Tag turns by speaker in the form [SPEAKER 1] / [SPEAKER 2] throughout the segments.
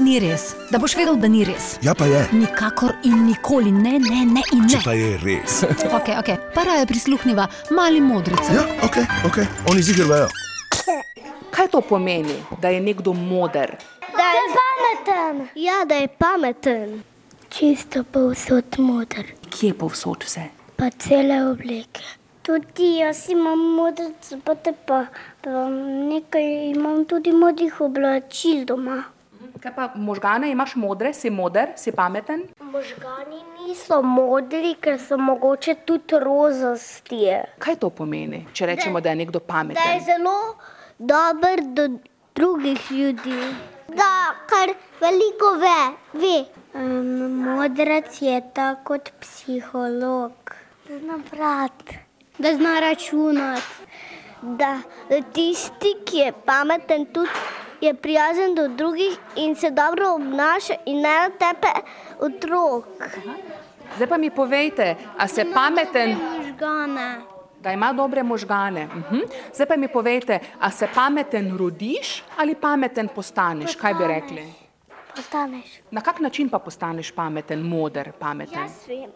[SPEAKER 1] ni res, da boš vedel, da ni res.
[SPEAKER 2] Ja, pa je.
[SPEAKER 1] Nikakor in nikoli ne, ne, ne in
[SPEAKER 2] Če
[SPEAKER 1] ne.
[SPEAKER 2] pa je res.
[SPEAKER 1] Okay, okay. Para je prisluhnila mali modrici.
[SPEAKER 2] Ja, ok, ok, oni zigrajo.
[SPEAKER 3] Kaj to pomeni, da je nekdo moder?
[SPEAKER 4] Da je pameten. Ja, da je pameten. Čisto povsod modr,
[SPEAKER 3] Kje povsod vse?
[SPEAKER 4] pa cele obleke. Tudi jaz imam modrico, pa te pa, pa nekaj imam tudi modrih oblačil doma.
[SPEAKER 3] Kaj pa možgane imaš modre, si moder, si pameten?
[SPEAKER 4] Možgani niso modri, ker so mogoče tudi rozasti.
[SPEAKER 3] Kaj to pomeni, če rečemo, da je nekdo
[SPEAKER 4] Da je
[SPEAKER 3] pameten?
[SPEAKER 4] zelo dober do drugih ljudi. Da kar veliko ve. ve. Um, modrac je ta kot psiholog. Da zna brati, da zna računati. Da tisti, ki je pameten, tudi je prijazen do drugih in se dobro obnaša in ne tepe otrok.
[SPEAKER 3] Zdaj pa mi povejte, a se pameten,
[SPEAKER 4] Možgane.
[SPEAKER 3] da ima dobre možgane. Mhm. Zdaj pa mi povejte, a se pameten rodiš ali pameten postaneš? Kaj bi rekli?
[SPEAKER 4] Postaneš.
[SPEAKER 3] Na kak način pa postaneš pameten, moder, pameten?
[SPEAKER 4] Vem.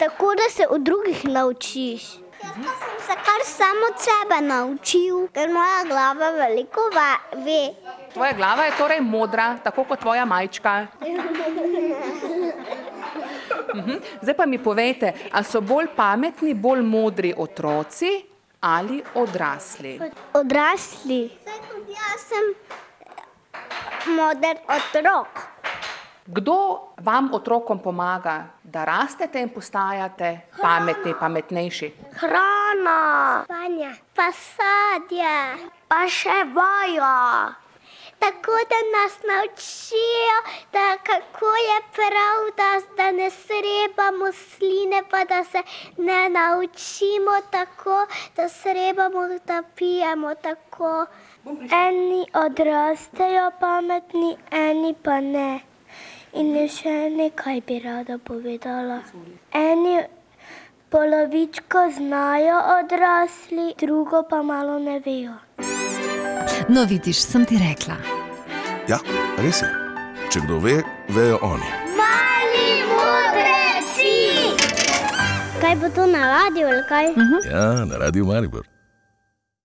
[SPEAKER 4] Tako da se od drugih naučiš. Jaz pa sem se kar samo od sebe naučil, ker moja glava veliko va- ve.
[SPEAKER 3] Tvoja glava je torej modra, tako kot tvoja majčka. Mhm. Zdaj pa mi povejte, ali so bolj pametni, bolj modri otroci ali odrasli?
[SPEAKER 4] Odrasli. Tudi jaz sem moder otrok.
[SPEAKER 3] Kdo vam otrokom pomaga, da rastete in postajate pametni, pametnejši?
[SPEAKER 4] Hrana, Spanje. pa sadje, pa še vojo. Tako da nas naučijo, da kako je prav, da, da ne srebamo sline, pa da se ne naučimo tako, da srebamo, da pijemo tako. Eni odrastejo pametni, eni pa ne. In je še nekaj bi rada povedala. Eni Polovičko znajo odrasli, drugo pa malo ne vejo.
[SPEAKER 1] No, vidiš, sem ti rekla.
[SPEAKER 2] Ja, res je. Če kdo ve, vejo oni.
[SPEAKER 4] Mali modreci! Kaj bo to na radiju ali kaj?
[SPEAKER 2] Ja, na radiju Maribor.